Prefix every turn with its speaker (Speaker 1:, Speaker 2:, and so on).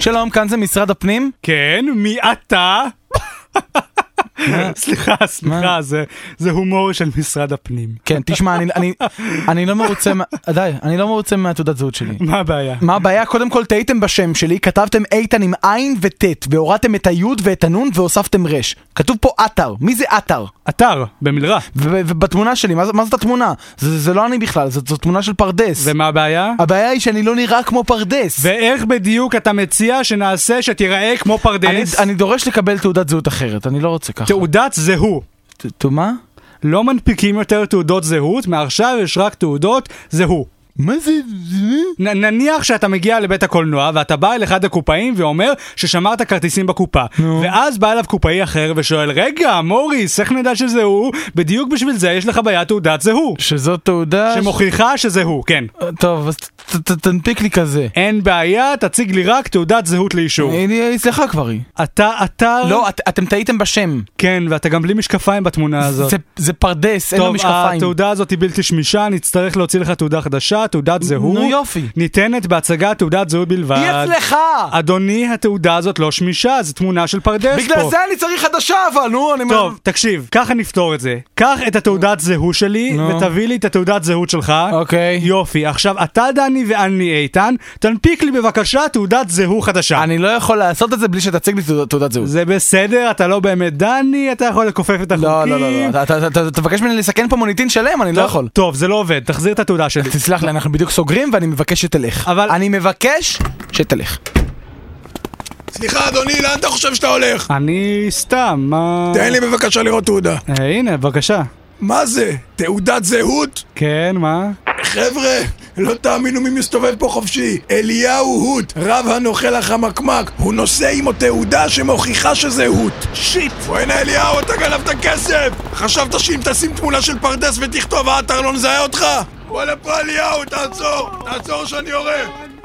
Speaker 1: שלום, כאן זה משרד הפנים?
Speaker 2: כן, מי אתה? סליחה, סליחה,
Speaker 1: מה?
Speaker 2: זה, זה הומור של משרד הפנים.
Speaker 1: כן, תשמע, אני, אני, אני לא מרוצה, מה- די, אני לא מרוצה מהתעודת זהות שלי.
Speaker 2: מה הבעיה?
Speaker 1: מה הבעיה? קודם כל טעיתם בשם שלי, כתבתם איתן עם עין וטית, והורדתם את היוד ואת הנון והוספתם רש. כתוב פה עטר, מי זה עטר?
Speaker 2: אתר, במלרע.
Speaker 1: ו- ובתמונה שלי, מה, ז- מה זאת התמונה? זה, זה לא אני בכלל, זאת, זאת תמונה של פרדס.
Speaker 2: ומה הבעיה?
Speaker 1: הבעיה היא שאני לא נראה כמו פרדס.
Speaker 2: ואיך בדיוק אתה מציע שנעשה שתיראה כמו
Speaker 1: אני,
Speaker 2: פרדס?
Speaker 1: אני דורש לקבל תעודת זהות אחרת, אני לא רוצה ככה.
Speaker 2: תעודת זהות.
Speaker 1: ת- ת- מה?
Speaker 2: לא מנפיקים יותר תעודות זהות, מעכשיו יש רק תעודות זהות.
Speaker 1: מה זה?
Speaker 2: נ- נניח שאתה מגיע לבית הקולנוע ואתה בא אל אחד הקופאים ואומר ששמרת כרטיסים בקופה
Speaker 1: נו.
Speaker 2: ואז בא אליו קופאי אחר ושואל רגע מוריס איך נדע שזה הוא? בדיוק בשביל זה יש לך בעיה תעודת זהות
Speaker 1: שזאת תעודה... ש-
Speaker 2: שמוכיחה שזה הוא, כן
Speaker 1: טוב, אז ת- ת- ת- תנפיק לי כזה.
Speaker 2: אין בעיה, תציג לי רק תעודת זהות לאישור
Speaker 1: היא אצלך כבר היא.
Speaker 2: אתה אתר?
Speaker 1: לא, את- אתם טעיתם בשם.
Speaker 2: כן, ואתה גם בלי משקפיים בתמונה הזאת
Speaker 1: זה- זה פרדס, אין לו
Speaker 2: טוב, אה,
Speaker 1: משקפיים.
Speaker 2: התעודה הזאת היא בלתי שמישה, נצטרך להוציא לך תעודה חדשה, תעודת זהות.
Speaker 1: נו, יופי.
Speaker 2: ניתנת בהצגת תעודת זהות בלבד.
Speaker 1: היא אצלך!
Speaker 2: אה, אדוני, התעודה הזאת לא שמישה, זו תמונה של פרדס פה.
Speaker 1: בגלל זה אני צריך חדשה אבל, נו, אני...
Speaker 2: טוב, תקשיב, ככה נפתור את זה. קח את התעודת זהות שלי,
Speaker 1: נו.
Speaker 2: ותביא לי את התעודת זהות שלך.
Speaker 1: אוקיי.
Speaker 2: יופי, עכשיו אתה דני ואני איתן, תנפיק לי בבקשה תעודת זהות חדשה.
Speaker 1: אני לא יכול לעשות את זה בלי שתציג לי תעוד- תעודת זהות.
Speaker 2: זה בסדר, אתה לא באמת דני, אתה יכול לכופף את החוקים.
Speaker 1: לא, לא, לא, לא, אתה- אתה- אתה אתה מבקש ממני לסכן פה מוניטין שלם, אני לא יכול.
Speaker 2: טוב, זה לא עובד, תחזיר את התעודה שלי.
Speaker 1: תסלח לי, אנחנו בדיוק סוגרים ואני מבקש שתלך.
Speaker 2: אבל-
Speaker 1: אני מבקש שתלך.
Speaker 3: סליחה אדוני, לאן אתה חושב שאתה הולך?
Speaker 2: אני סתם, מה...
Speaker 3: תן לי בבקשה לראות תעודה.
Speaker 2: אה, הנה, בבקשה.
Speaker 3: מה זה? תעודת זהות?
Speaker 2: כן, מה?
Speaker 3: חבר'ה, לא תאמינו מי מסתובב פה חופשי. אליהו הוט, רב הנוכל החמקמק, הוא נושא עמו תעודה שמוכיחה שזה הוט. שיט! בואנה אליהו, אתה גנבת כסף! חשבת שאם תשים תמונה של פרדס ותכתוב האתר לא נזהה אותך? וואלה פה אליהו, תעצור! תעצור שאני יורה!